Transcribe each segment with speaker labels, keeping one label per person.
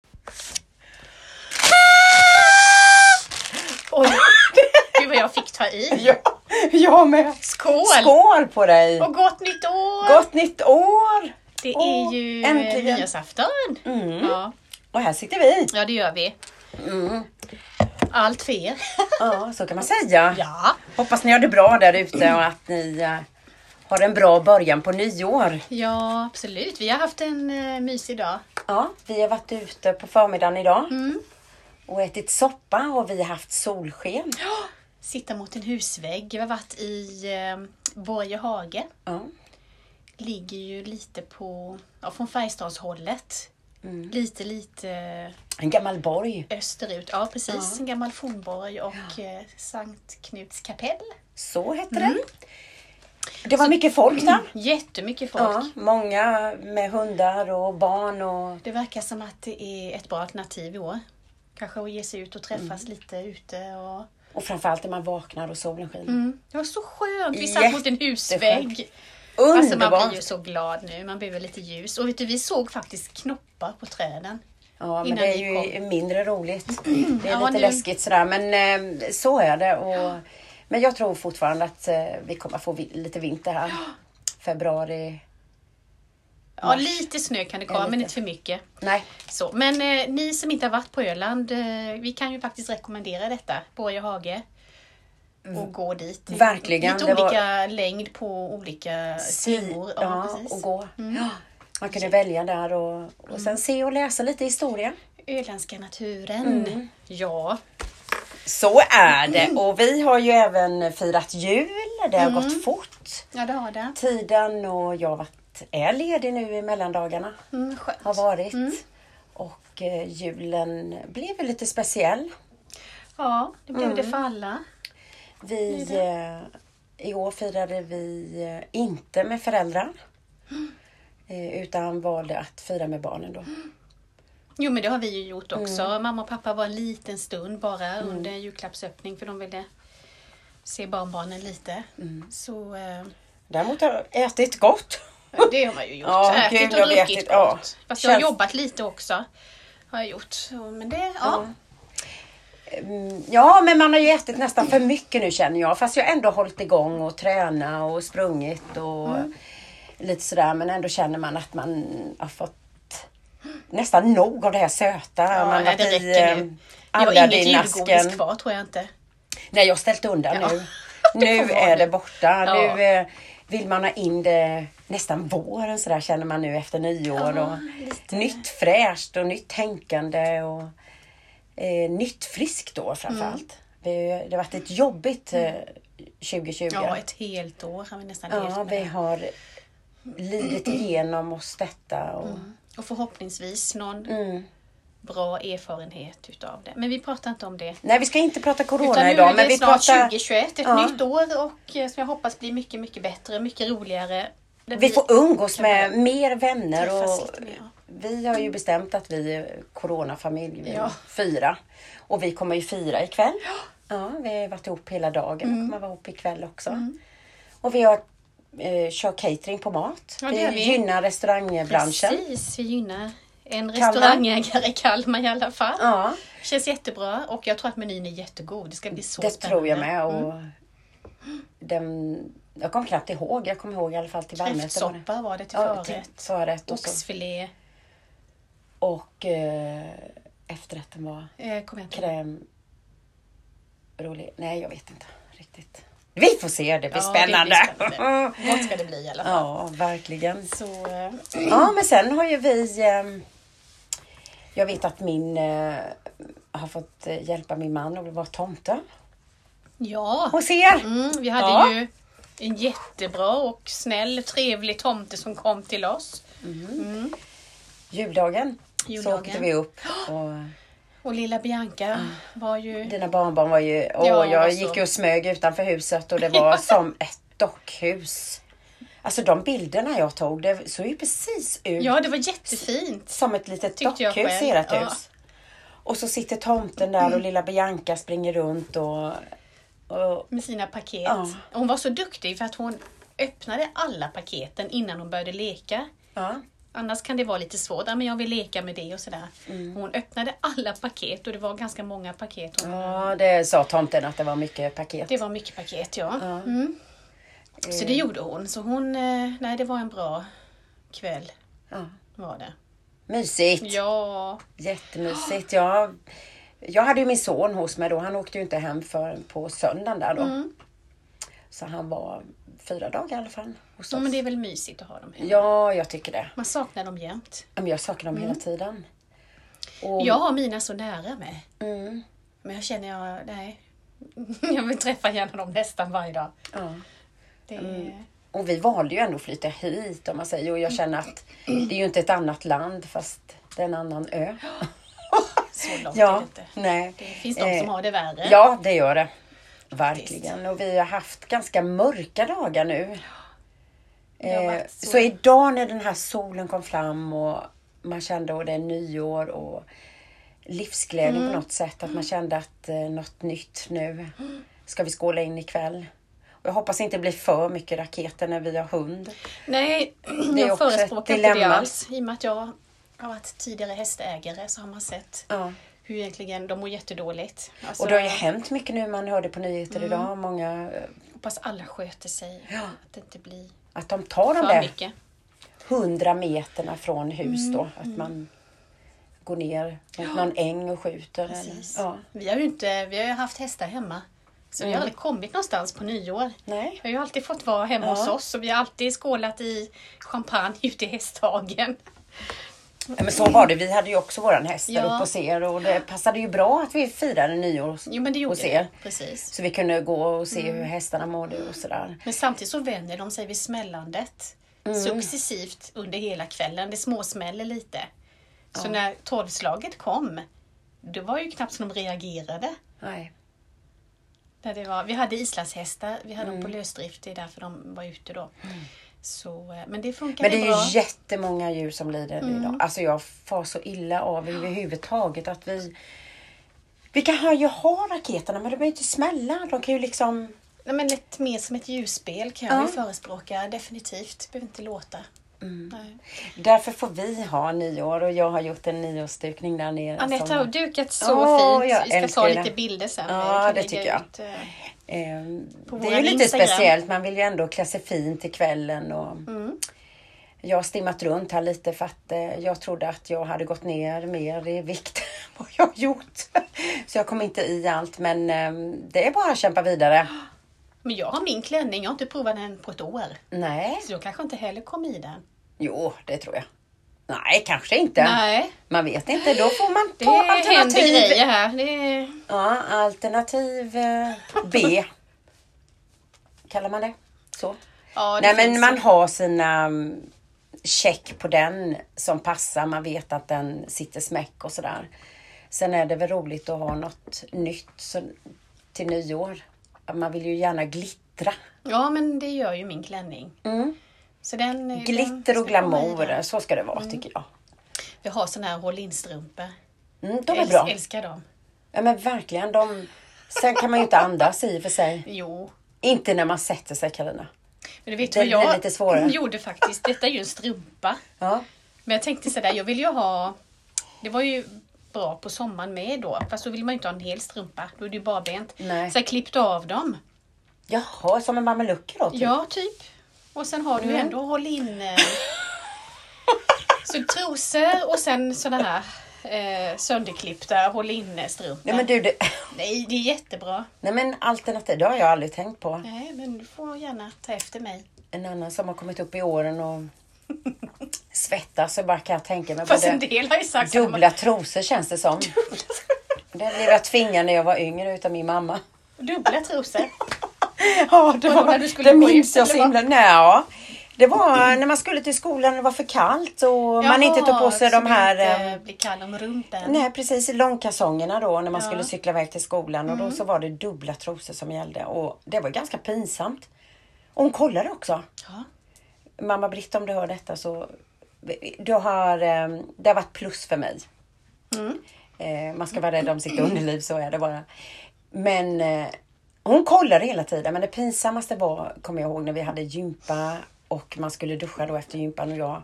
Speaker 1: hoppa i.
Speaker 2: Ja, jag med.
Speaker 1: Skål!
Speaker 2: Skål på dig!
Speaker 1: Och gott nytt år!
Speaker 2: Gott nytt år!
Speaker 1: det är
Speaker 2: Åh,
Speaker 1: ju
Speaker 2: äntligen.
Speaker 1: eh, nyårsafton.
Speaker 2: Mm.
Speaker 1: Ja.
Speaker 2: Och här sitter vi.
Speaker 1: ja, det gör vi.
Speaker 2: Mm.
Speaker 1: Allt för er.
Speaker 2: Ja, så kan man säga.
Speaker 1: ja.
Speaker 2: Hoppas ni har det bra där ute och att ni eh, har en bra början på nyår.
Speaker 1: ja, absolut. Vi har haft en uh, mysig dag.
Speaker 2: Ja, vi har varit ute på förmiddagen idag
Speaker 1: Mm.
Speaker 2: och ätit soppa och vi har haft solsken.
Speaker 1: Sitta mot en husvägg. Vi har varit i uh, Borgehage.
Speaker 2: Ja.
Speaker 1: Ligger ju lite på, ja, från Färjestadshållet.
Speaker 2: Mm.
Speaker 1: Lite, lite
Speaker 2: En gammal borg.
Speaker 1: österut. Ja, precis. En gammal fornborg och eh, Sankt Knuts kapell.
Speaker 2: Så hette det. Det var mycket folk där.
Speaker 1: Jättemycket folk.
Speaker 2: Ja, många med hundar och barn och
Speaker 1: Det verkar som att det är ett bra alternativ i år. Kanske att ge sig ut och träffas lite ute. Och...
Speaker 2: Och framförallt när man vaknar och solen skiner.
Speaker 1: Mm. Det var så skönt. Vi satt mot en husvägg. Alltså man
Speaker 2: Underbart!
Speaker 1: blir ju så glad nu. Man behöver lite ljus. Och vet du, vi såg faktiskt knoppar på träden.
Speaker 2: ja, men
Speaker 1: innan
Speaker 2: det är
Speaker 1: vi
Speaker 2: ju mindre roligt. Det är
Speaker 1: Ja,
Speaker 2: lite
Speaker 1: nu-
Speaker 2: läskigt sådär, men eh, så är det. Och, Men jag tror fortfarande att eh, vi kommer få vi- lite vinter här. Februari.
Speaker 1: Ja, lite snö kan det komma,
Speaker 2: Ja, lite.
Speaker 1: men inte för mycket.
Speaker 2: Nej,
Speaker 1: Så. Men eh, ni som inte har varit på Öland, eh, vi kan ju faktiskt rekommendera detta. Borge hage. Och gå dit.
Speaker 2: Verkligen,
Speaker 1: Lite
Speaker 2: det var-
Speaker 1: olika längd på olika sidor. Ja,
Speaker 2: ja,
Speaker 1: precis. Mm.
Speaker 2: och gå. Ja, man kunde välja där och, och sen se och läsa lite historia.
Speaker 1: Öländska naturen. Ja,
Speaker 2: Så är det och vi har ju även firat jul. Det har
Speaker 1: Mm.
Speaker 2: gått fort.
Speaker 1: ja det har det.
Speaker 2: Tiden och jag har varit, är ledig nu i mellandagarna.
Speaker 1: Mm, skönt.
Speaker 2: har varit. Och eh, julen blev ju lite speciell.
Speaker 1: Ja, det blev det för alla.
Speaker 2: Vi, eh, I år firade vi eh, inte med föräldrar. Eh, utan valde att fira med barnen då.
Speaker 1: Jo men det har vi ju gjort också. Mamma och pappa var en liten stund bara under julklappsöppning för de ville se barnbarnen lite. Så eh,
Speaker 2: Däremot har jag ätit gott.
Speaker 1: det har man ju gjort.
Speaker 2: Ja,
Speaker 1: Ätit
Speaker 2: gud,
Speaker 1: och
Speaker 2: jag vet
Speaker 1: druckit
Speaker 2: inte. Ja.
Speaker 1: gott. Fast jag har
Speaker 2: Känns-
Speaker 1: jobbat lite också. Har jag gjort. Så, men det, ja.
Speaker 2: Mm, Ja, men man har ju ätit nästan för mycket nu känner jag. Fast jag har ändå hållit igång och tränat och sprungit och lite sådär. Men ändå känner man att man har fått nästan nog av det här söta. man har
Speaker 1: nej,
Speaker 2: varit
Speaker 1: det
Speaker 2: i,
Speaker 1: räcker
Speaker 2: eh,
Speaker 1: nu. Jag har inget
Speaker 2: Aladdin-asken.
Speaker 1: julgodis kvar tror jag inte.
Speaker 2: Nej, jag har ställt undan
Speaker 1: Ja,
Speaker 2: nu.
Speaker 1: det får
Speaker 2: Nu
Speaker 1: vara
Speaker 2: är
Speaker 1: nu.
Speaker 2: det borta.
Speaker 1: Ja.
Speaker 2: Nu eh, vill man ha in det nästan våren sådär känner man nu efter nyår.
Speaker 1: Ja,
Speaker 2: och
Speaker 1: lite.
Speaker 2: nytt fräscht och nytt tänkande och eh, nytt friskt då framförallt.
Speaker 1: Mm.
Speaker 2: Det, det har varit ett jobbigt eh, 2020.
Speaker 1: Ja, ett helt år har vi nästan levt
Speaker 2: Ja,
Speaker 1: med
Speaker 2: vi
Speaker 1: det.
Speaker 2: har lidit igenom oss detta. Och,
Speaker 1: Och förhoppningsvis någon
Speaker 2: Mm.
Speaker 1: bra erfarenhet utav det. Men vi pratar inte om det.
Speaker 2: Nej, vi ska inte prata
Speaker 1: Utan
Speaker 2: corona
Speaker 1: nu
Speaker 2: idag,
Speaker 1: är
Speaker 2: men
Speaker 1: det
Speaker 2: vi
Speaker 1: snart
Speaker 2: pratar...
Speaker 1: 2021, ett
Speaker 2: Ja.
Speaker 1: nytt år och eh, som jag hoppas blir mycket, mycket bättre, mycket roligare. Där
Speaker 2: Vi får umgås
Speaker 1: kan
Speaker 2: med
Speaker 1: börja
Speaker 2: mer vänner
Speaker 1: träffas
Speaker 2: och
Speaker 1: lite mer, ja.
Speaker 2: vi har ju bestämt att vi är coronafamilj, vi är
Speaker 1: Ja.
Speaker 2: fyra. Och vi kommer ju fira ikväll. Ja, vi har varit ihop hela dagen och
Speaker 1: Mm.
Speaker 2: kommer vara ihop ikväll också. Och vi har, eh, kör catering på mat.
Speaker 1: Ja, det
Speaker 2: vi,
Speaker 1: gör vi.
Speaker 2: gynnar restaurangbranschen.
Speaker 1: Precis, vi gynnar en restaurangägare i Kalmar i alla fall.
Speaker 2: Ja,
Speaker 1: Känns jättebra och jag tror att menyn är jättegod. Det ska bli så
Speaker 2: det
Speaker 1: spännande. Mm.
Speaker 2: tror jag med. Och den, jag kommer knappt ihåg, jag kommer ihåg i alla fall till Vallmöte. var det.
Speaker 1: Kräftsoppa var det till
Speaker 2: Ja, till
Speaker 1: förrätt.
Speaker 2: förrätt och så.
Speaker 1: Oxfilé. eh,
Speaker 2: Och eh, efterrätten var
Speaker 1: Eh, kom igen.
Speaker 2: kräm... Rolig. Nej, jag vet inte riktigt. Vi får se, det blir spännande.
Speaker 1: Ja, det blir spännande. Vad ska det bli i alla fall?
Speaker 2: ja, verkligen.
Speaker 1: Så, eh,
Speaker 2: Ja, men sen har ju vi... ehm, Jag vet att min... eh, Har fått eh, hjälpa min man att vara tomte
Speaker 1: ja.
Speaker 2: hos er.
Speaker 1: Mm, vi hade
Speaker 2: Ja.
Speaker 1: ju en jättebra och snäll, trevlig tomte som kom till oss.
Speaker 2: Juldagen. Så
Speaker 1: Juldagen.
Speaker 2: åkte vi upp. Och
Speaker 1: Och lilla Bianca
Speaker 2: Ah.
Speaker 1: var ju...
Speaker 2: dina barnbarn var ju... Åh,
Speaker 1: Ja,
Speaker 2: jag
Speaker 1: alltså.
Speaker 2: gick ju och smög utanför huset och det var som ett dockhus. Alltså de bilderna jag tog, det såg ju precis ut
Speaker 1: Ja, det var jättefint.
Speaker 2: som ett litet
Speaker 1: Tyckte jag
Speaker 2: dockhus
Speaker 1: själv,
Speaker 2: i ert
Speaker 1: ja.
Speaker 2: hus. Och så sitter tomten där och lilla Bianca springer runt och... och
Speaker 1: Med sina paket.
Speaker 2: Ja.
Speaker 1: Hon var så duktig för att hon öppnade alla paketen innan hon började leka.
Speaker 2: ja.
Speaker 1: Annars kan det vara lite svårt, ja, men jag vill leka med det och sådär. Hon öppnade alla paket och det var ganska många paket. Hon,
Speaker 2: Mm. Ja, det sa tomten att det var mycket paket.
Speaker 1: Det var mycket paket ja. Mm. Så
Speaker 2: Eh.
Speaker 1: det gjorde hon. Så hon, eh, nej det var en bra kväll
Speaker 2: Ja.
Speaker 1: var det.
Speaker 2: Mysigt!
Speaker 1: Ja,
Speaker 2: Jättemysigt. Jag, jag hade ju min son hos mig då. Han åkte ju inte hem för på söndagen där då.
Speaker 1: Mm.
Speaker 2: Så han var fyra dagar i alla fall hos
Speaker 1: så,
Speaker 2: oss.
Speaker 1: men det är väl mysigt att ha dem här.
Speaker 2: Ja, jag tycker det.
Speaker 1: Man saknar dem jämt.
Speaker 2: Ja, Men jag saknar dem
Speaker 1: Mm.
Speaker 2: hela tiden. Och,
Speaker 1: Jag har mina så nära mig.
Speaker 2: Mm,
Speaker 1: Men jag känner jag, nej. Jag vill träffa gärna dem nästan varje dag. Mm.
Speaker 2: ja.
Speaker 1: Det,
Speaker 2: och vi valde ju ändå att flytta hit om man säger. Och jag känner att det är ju inte ett annat land fast det är en annan ö.
Speaker 1: Så långt är
Speaker 2: Ja,
Speaker 1: det inte.
Speaker 2: nej.
Speaker 1: Det finns de som
Speaker 2: Eh,
Speaker 1: har det värre.
Speaker 2: Ja, det gör det. Verkligen. Och vi har haft ganska mörka dagar nu.
Speaker 1: Det har
Speaker 2: Eh,
Speaker 1: varit
Speaker 2: så.
Speaker 1: så.
Speaker 2: idag när den här solen kom fram och man kände att det är nyår och livsglädje
Speaker 1: Mm.
Speaker 2: på något sätt. Att man kände att eh, något nytt nu. Ska vi skåla in ikväll? Och jag hoppas inte det blir för mycket raketer när vi har hund.
Speaker 1: Nej,
Speaker 2: Det är
Speaker 1: jag
Speaker 2: också ett
Speaker 1: förespråkar inte det
Speaker 2: dilemma.
Speaker 1: alls. I och med att jag har varit tidigare hästägare så har man sett
Speaker 2: Ja.
Speaker 1: hur egentligen de mår jättedåligt. Alltså,
Speaker 2: Och det har ju hänt mycket nu. Man hörde på
Speaker 1: Mm.
Speaker 2: nyheter idag. Många, eh,
Speaker 1: Hoppas alla sköter sig. Att det inte blir
Speaker 2: att de tar de
Speaker 1: för
Speaker 2: där
Speaker 1: mycket. Mm.
Speaker 2: hundra meterna från hus då. Att man går ner mot någon äng och skjuter. Eller,
Speaker 1: Precis.
Speaker 2: ja.
Speaker 1: Vi har ju inte, vi har ju haft hästar hemma. Så vi har aldrig kommit någonstans på nyår.
Speaker 2: Nej.
Speaker 1: Vi har ju alltid fått vara hemma hos oss och vi har alltid skålat i champagne ute i hästhagen.
Speaker 2: Ja, Men så var det. Vi hade ju också våran häst där
Speaker 1: Mm. Ja.
Speaker 2: uppe hos er och det passade ju bra att vi firade nyår hos-
Speaker 1: Jo Mm. men det gjorde
Speaker 2: hos er.
Speaker 1: det. Precis.
Speaker 2: Så vi kunde gå och se hur hästarna mådde och sådär.
Speaker 1: Men samtidigt så vänjer de sig vid smällandet successivt under hela kvällen. Det småsmäller lite. Så när tolvslaget kom, det var ju knappt som de reagerade.
Speaker 2: Nej.
Speaker 1: När det var, vi hade islandshästar, vi hade dem på lösdrift, det är därför de var ute då. Så, eh, men det Mm. funkade
Speaker 2: Men det är
Speaker 1: bra.
Speaker 2: ju jättemånga djur som lider idag. Alltså jag far så illa av överhuvudtaget att vi... Vi kan ha- ju ha raketerna men de behöver ju inte smälla. De kan ju liksom...
Speaker 1: Nej, men lite mer som ett ljusspel kan jag ju förespråka, definitivt. Det behöver inte låta. Nej.
Speaker 2: Därför får vi ha nyår och jag har gjort en nyårsdukning där nere.
Speaker 1: Anette
Speaker 2: som-
Speaker 1: har dukat så
Speaker 2: Alltså, Åh, jag
Speaker 1: fint. Vi ska
Speaker 2: älskar
Speaker 1: ta
Speaker 2: det.
Speaker 1: lite bilder sen. Vi
Speaker 2: Ja,
Speaker 1: kan
Speaker 2: det
Speaker 1: lägga
Speaker 2: tycker jag.
Speaker 1: ut, eh,
Speaker 2: Ehm,
Speaker 1: På
Speaker 2: det
Speaker 1: våran
Speaker 2: är ju lite
Speaker 1: Instagram.
Speaker 2: speciellt. Man vill ju ändå klä sig fint till kvällen. Och
Speaker 1: Mm.
Speaker 2: Jag har stimmat runt här lite för att eh, jag trodde att jag hade gått ner mer i vikt än vad jag har gjort. Så jag kom inte i allt men ehm, det är bara att kämpa vidare.
Speaker 1: Men jag har min klänning, jag har inte provat den på ett år.
Speaker 2: Nej,
Speaker 1: Så jag kanske inte heller kom i den.
Speaker 2: jo det tror jag. Nej, kanske inte.
Speaker 1: Nej,
Speaker 2: Man vet inte. Då får man
Speaker 1: det
Speaker 2: ta
Speaker 1: händer
Speaker 2: alternativ.
Speaker 1: grejer här. Det är...
Speaker 2: Ja, alternativ eh, B. Kallar man det så?
Speaker 1: Ja, det
Speaker 2: Nej men
Speaker 1: finns
Speaker 2: man har sina mm, check på den som passar. Man vet att den sitter smäck och sådär. Sen är det väl roligt att ha något nytt så, till nyår. Man vill ju gärna glittra.
Speaker 1: ja, men det gör ju min klänning. Så den, eh, den
Speaker 2: Mm. Glitter och
Speaker 1: ska komma i
Speaker 2: glamour,
Speaker 1: den.
Speaker 2: så ska det vara
Speaker 1: Mm.
Speaker 2: tycker jag.
Speaker 1: Vi har såna här håll-in-strumpor.
Speaker 2: Mm, de är
Speaker 1: Äls-
Speaker 2: bra.
Speaker 1: Älskar dem.
Speaker 2: Ja men verkligen. De... Sen kan man ju inte andas i och för sig.
Speaker 1: Jo.
Speaker 2: Inte när man sätter sig Karina.
Speaker 1: Men du vet
Speaker 2: Den
Speaker 1: vad jag
Speaker 2: blir lite svårare.
Speaker 1: gjorde faktiskt? Detta är ju en strumpa.
Speaker 2: Ja.
Speaker 1: Men jag tänkte sådär, jag vill ju ha... Det var ju bra på sommaren med då. Fast då vill man ju inte ha en hel strumpa. Då är det ju barbent.
Speaker 2: Nej.
Speaker 1: Så jag klippte av dem.
Speaker 2: Jaha, som en mamelucka då? Typ.
Speaker 1: Ja, typ. Och sen har du ju ändå håll in... Eh, så trosor och sen sådana här eh, sönderklippta håll in strumpor.
Speaker 2: Nej men du, det...
Speaker 1: Nej, det är jättebra.
Speaker 2: Nej men alternativ, det har jag aldrig tänkt på.
Speaker 1: Nej, men du får gärna ta efter mig.
Speaker 2: en annan som har kommit upp i åren och svettas så bara kan jag tänka mig.
Speaker 1: Fast en
Speaker 2: Både
Speaker 1: del har ju sagt att man-
Speaker 2: dubbla trosor känns det som. Det blev jag tvingad när jag var yngre utav min mamma.
Speaker 1: dubbla trosor.
Speaker 2: Ja, det,
Speaker 1: Vadå,
Speaker 2: var,
Speaker 1: när du skulle
Speaker 2: det
Speaker 1: gå
Speaker 2: minns
Speaker 1: ut,
Speaker 2: jag så
Speaker 1: eller vad?
Speaker 2: himla. Nej, ja. Det var när man skulle till skolan och det var för kallt och man inte tog på sig
Speaker 1: så
Speaker 2: de
Speaker 1: det
Speaker 2: här eh,
Speaker 1: Inte blir kall om rumpen.
Speaker 2: Nej precis, långkalsongerna då när man skulle cykla iväg till skolan och då så var det dubbla trosor som gällde och det var ganska pinsamt. Och hon kollade också.
Speaker 1: Ja.
Speaker 2: Mamma Britt om du hör detta så du har, eh, det har varit plus för mig. Eh, Man ska vara rädd om sitt underliv, så är det bara. Men eh, hon kollade hela tiden. Men det pinsammaste var, kommer jag ihåg, när vi hade gympa och man skulle duscha då efter gympan och jag.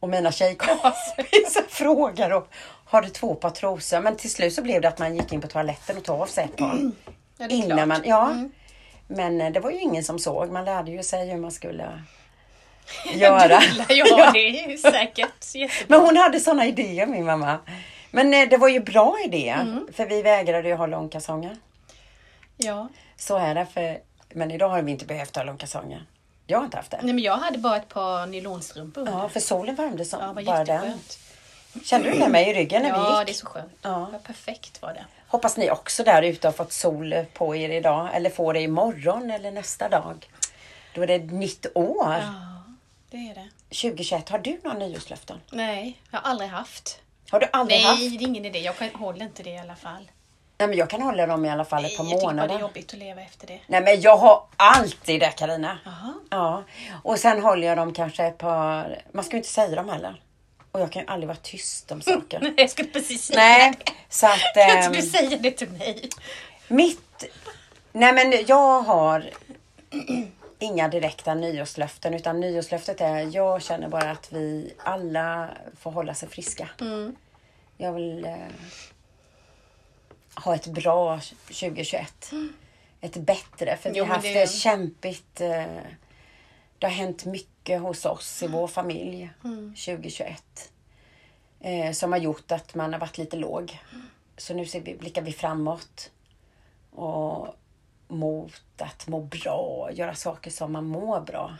Speaker 2: Och mina tjejkompisar frågar om har du två par trosor? Men till slut så blev det att man gick in på toaletten och tog av sig ett par.
Speaker 1: Ja, det är
Speaker 2: Innan
Speaker 1: klart. Mm.
Speaker 2: man, ja. Men eh, det var ju ingen som såg. Man lärde ju sig hur man skulle göra.
Speaker 1: Dubbla, ja, det är ju säkert jättebra.
Speaker 2: Men hon hade sådana idéer min mamma. Men eh, det var ju bra idé.
Speaker 1: Mm.
Speaker 2: För vi vägrade ju ha långkalsonger.
Speaker 1: Ja.
Speaker 2: Så är det. För, men idag har vi inte behövt ha långkalsonger. Jag har inte haft det.
Speaker 1: Nej, men jag hade bara ett par nylonstrumpor under.
Speaker 2: Ja, för solen värmde som
Speaker 1: Ja, det var
Speaker 2: bara den.
Speaker 1: jätteskönt.
Speaker 2: Kände du det med i ryggen när vi
Speaker 1: Ja,
Speaker 2: gick?
Speaker 1: det är så skönt.
Speaker 2: Ja.
Speaker 1: Ja, perfekt var det.
Speaker 2: Hoppas ni också där ute har fått sol på er idag. Eller får det imorgon eller nästa dag. Då är det ett nytt år.
Speaker 1: Ja, det är det.
Speaker 2: 2021. Har du några nyårslöften?
Speaker 1: Nej, jag har aldrig haft.
Speaker 2: Har du aldrig
Speaker 1: Nej,
Speaker 2: haft?
Speaker 1: det är ingen idé. Jag kan, håller inte det i alla fall.
Speaker 2: Nej, men jag kan hålla dem i alla fall ett par
Speaker 1: Nej, jag tycker bara det är
Speaker 2: månader.
Speaker 1: jobbigt att leva efter det.
Speaker 2: Nej, men jag har alltid det Karina.
Speaker 1: Jaha.
Speaker 2: Ja, och sen håller jag dem kanske ett par... Man ska ju inte säga dem heller. Och jag kan ju aldrig vara tyst om saker.
Speaker 1: Nej, jag skulle precis säga
Speaker 2: Nej,
Speaker 1: det.
Speaker 2: så att...
Speaker 1: Kan inte
Speaker 2: ehm,
Speaker 1: du säga det till mig?
Speaker 2: Mitt... Nej men jag har inga direkta nyårslöften utan nyårslöftet är jag känner bara att vi alla får hålla sig friska.
Speaker 1: Mm.
Speaker 2: Jag vill eh, ha ett bra 2021. Ett bättre, för vi
Speaker 1: Jo,
Speaker 2: har
Speaker 1: men
Speaker 2: haft det,
Speaker 1: det-
Speaker 2: kämpigt. Eh, det har hänt mycket hos oss i vår familj
Speaker 1: Mm.
Speaker 2: 2021 eh, som har gjort att man har varit lite låg. Så nu ser vi, blickar vi framåt och mot att må bra, göra saker som man mår bra.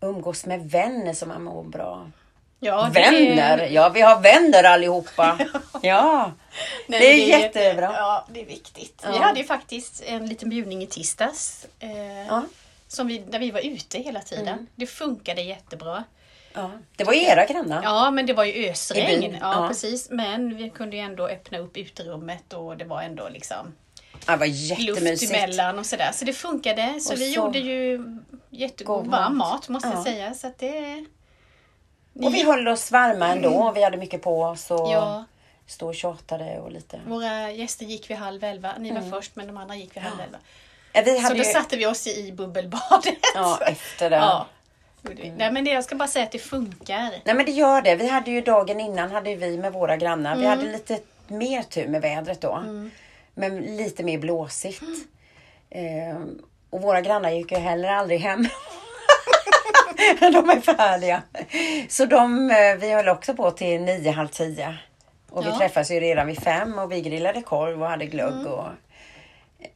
Speaker 2: Umgås med vänner som man mår bra.
Speaker 1: Ja, det är-
Speaker 2: Vänner! Ja, vi har vänner allihopa. Ja,
Speaker 1: Nej,
Speaker 2: det
Speaker 1: men
Speaker 2: är jättebra.
Speaker 1: Ja, det är viktigt. Vi
Speaker 2: Ja.
Speaker 1: hade ju faktiskt en liten bjudning i tisdags. Eh,
Speaker 2: Ja.
Speaker 1: som vi, där vi var ute hela tiden.
Speaker 2: Mm.
Speaker 1: Det funkade jättebra.
Speaker 2: Ja. Det var era grannar.
Speaker 1: Ja, men det var ju
Speaker 2: I
Speaker 1: ösregn.
Speaker 2: byn,
Speaker 1: Ja,
Speaker 2: ja.
Speaker 1: precis. Men vi kunde ju ändå öppna upp uterummet och det var ändå liksom
Speaker 2: Ja, det var
Speaker 1: luft
Speaker 2: jättemysigt.
Speaker 1: emellan och sådär. Så det funkade. Så
Speaker 2: Och
Speaker 1: vi
Speaker 2: så-
Speaker 1: gjorde ju jättegod
Speaker 2: God
Speaker 1: varm
Speaker 2: mat.
Speaker 1: mat måste
Speaker 2: Ja.
Speaker 1: jag säga. Så att det...
Speaker 2: Och vi höll oss varma ändå. Vi hade mycket på oss och
Speaker 1: Mm. Ja.
Speaker 2: stod och tjatade och lite.
Speaker 1: Våra gäster gick vid halv elva. Ni var först men de andra gick vid halv elva.
Speaker 2: Mm. Ja, Vi
Speaker 1: Så
Speaker 2: hade
Speaker 1: då
Speaker 2: ju...
Speaker 1: satte vi oss i bubbelbadet.
Speaker 2: Ja, efter det. Mm.
Speaker 1: Ja. Nej men det, jag ska bara säga att det funkar.
Speaker 2: Nej men det gör det. Vi hade ju dagen innan hade ju vi med våra grannar. Vi
Speaker 1: Mm.
Speaker 2: hade lite mer tur med vädret då. Men lite mer blåsigt. Ehm, och våra grannar gick ju heller aldrig hem. de är för härliga. Så de, eh, vi höll också på till nio, halv tio. Och vi
Speaker 1: Ja. Mm.
Speaker 2: träffades ju redan vid fem och vi grillade korv och hade glögg. Och,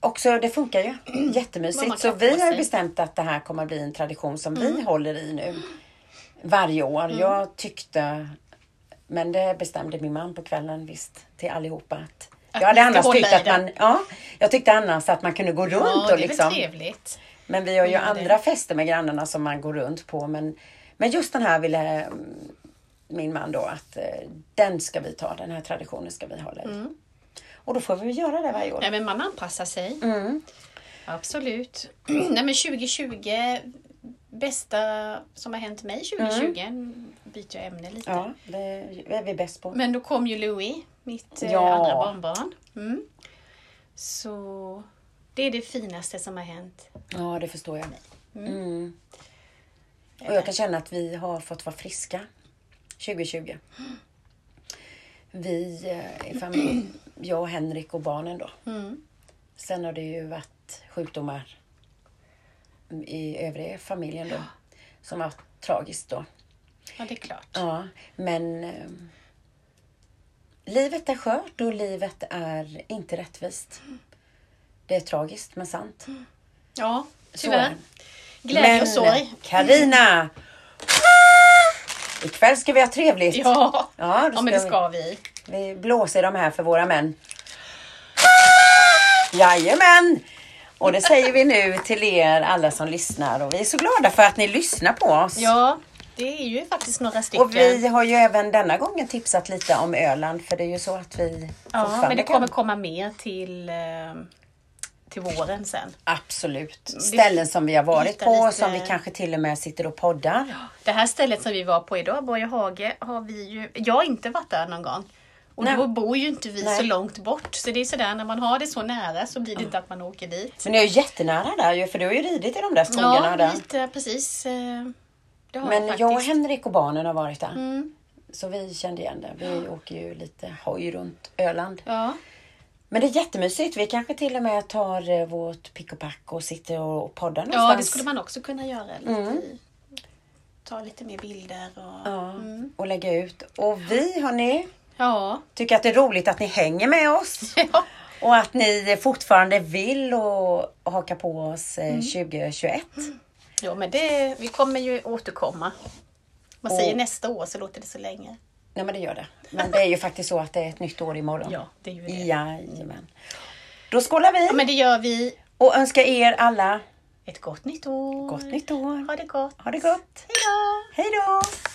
Speaker 2: också, det funkar ju
Speaker 1: Mamma
Speaker 2: jättemysigt. Så
Speaker 1: kan
Speaker 2: vi
Speaker 1: få
Speaker 2: har ju
Speaker 1: sig. Mm.
Speaker 2: bestämt att det här kommer att bli en tradition som vi håller i nu varje år. Jag tyckte, men det bestämde min man på kvällen visst, till allihopa. Att jag
Speaker 1: ni
Speaker 2: hade
Speaker 1: ska
Speaker 2: annars
Speaker 1: hålla
Speaker 2: tyckt
Speaker 1: i
Speaker 2: att
Speaker 1: det.
Speaker 2: man, ja, jag tyckte annars att man kunde gå runt
Speaker 1: Ja, det
Speaker 2: och
Speaker 1: är väl
Speaker 2: liksom.
Speaker 1: trevligt.
Speaker 2: Men vi har ju
Speaker 1: Ja, det-
Speaker 2: andra fester med grannarna som man går runt på. Men, men just den här ville mm, min man då att eh, den ska vi ta, den här traditionen ska vi hålla i.
Speaker 1: Mm.
Speaker 2: Och då får vi väl göra det varje år. Mm,
Speaker 1: Nej men man anpassar sig. Absolut. Nej men 2020, bästa som har hänt mig 2020, byter jag ämne lite.
Speaker 2: Ja, det är vi bäst på.
Speaker 1: Men då kom ju Louis, mitt eh,
Speaker 2: Ja.
Speaker 1: andra barnbarn. Mm. Så det är det finaste som har hänt.
Speaker 2: Ja, det förstår jag. Mm. Och jag kan känna att vi har fått vara friska 2020. Vi eh, i familjen, jag, Henrik och barnen då. Sen har det ju varit sjukdomar i övriga familjen då. Som var tragiskt då.
Speaker 1: Ja det är klart.
Speaker 2: Ja, men eh, livet är skört och livet är inte rättvist. Det är tragiskt men sant.
Speaker 1: Ja,
Speaker 2: Så är
Speaker 1: tyvärr.
Speaker 2: det.
Speaker 1: Glädje och sorg. Mm.
Speaker 2: Karina! Ikväll ska vi ha trevligt.
Speaker 1: Ah! Ja,
Speaker 2: Ja, då
Speaker 1: ja men det
Speaker 2: ska
Speaker 1: ska vi.
Speaker 2: Vi blåser i de här för våra män. Ah! Jajamän! Och det säger vi nu till er alla som lyssnar och vi är så glada för att ni lyssnar på oss.
Speaker 1: Ja, det är ju faktiskt några stycken.
Speaker 2: Och vi har ju även denna gången tipsat lite om Öland för det är ju så att vi
Speaker 1: ja, men det kommer
Speaker 2: kan...
Speaker 1: komma mer till, eh, till våren sen.
Speaker 2: Absolut. Ställen som vi har varit
Speaker 1: Hitta
Speaker 2: på och
Speaker 1: lite-
Speaker 2: som vi kanske till och med sitter och poddar.
Speaker 1: Det här stället som vi var på idag, Borgehage, har vi ju... Jag har inte varit där någon gång. Och
Speaker 2: Nej.
Speaker 1: då bor ju inte vi
Speaker 2: Nej.
Speaker 1: så långt bort. Så det är sådär, när man har det så nära så blir det inte att man åker dit.
Speaker 2: Men det är ju jättenära där ju för du har ju ridit i de där skogarna
Speaker 1: Ja,
Speaker 2: där.
Speaker 1: lite precis. eh, Det har
Speaker 2: Men
Speaker 1: jag
Speaker 2: jag och
Speaker 1: faktiskt.
Speaker 2: Henrik och barnen har varit där.
Speaker 1: Mm.
Speaker 2: Så vi kände igen det. Vi åker ju lite hoj runt Öland.
Speaker 1: Ja.
Speaker 2: Men det är jättemysigt. Vi kanske till och med tar eh, vårt pick och pack och sitter och och poddar någonstans. Mm.
Speaker 1: ja, det skulle man också kunna göra. Lite. i- Ta lite mer bilder och...
Speaker 2: Ja,
Speaker 1: Mm.
Speaker 2: och lägga ut. Och vi hörni,
Speaker 1: Ja.
Speaker 2: tycker att det är roligt att ni hänger med oss.
Speaker 1: ja.
Speaker 2: Och att ni fortfarande vill och och haka på oss eh,
Speaker 1: Mm.
Speaker 2: 2021.
Speaker 1: Jo, men det, vi kommer ju återkomma. Man säger
Speaker 2: Och-
Speaker 1: nästa år så låter det så länge.
Speaker 2: Nej men det gör det. Men det är ju faktiskt så att det är ett nytt år imorgon.
Speaker 1: Ja, det är ju det.
Speaker 2: Jajamän. Då skålar vi
Speaker 1: Ja, men det gör vi.
Speaker 2: och önskar er alla
Speaker 1: Ett gott nytt år.
Speaker 2: gott nytt år.
Speaker 1: Ha det gott.
Speaker 2: Ha det gott.
Speaker 1: Hej då!
Speaker 2: Hej då!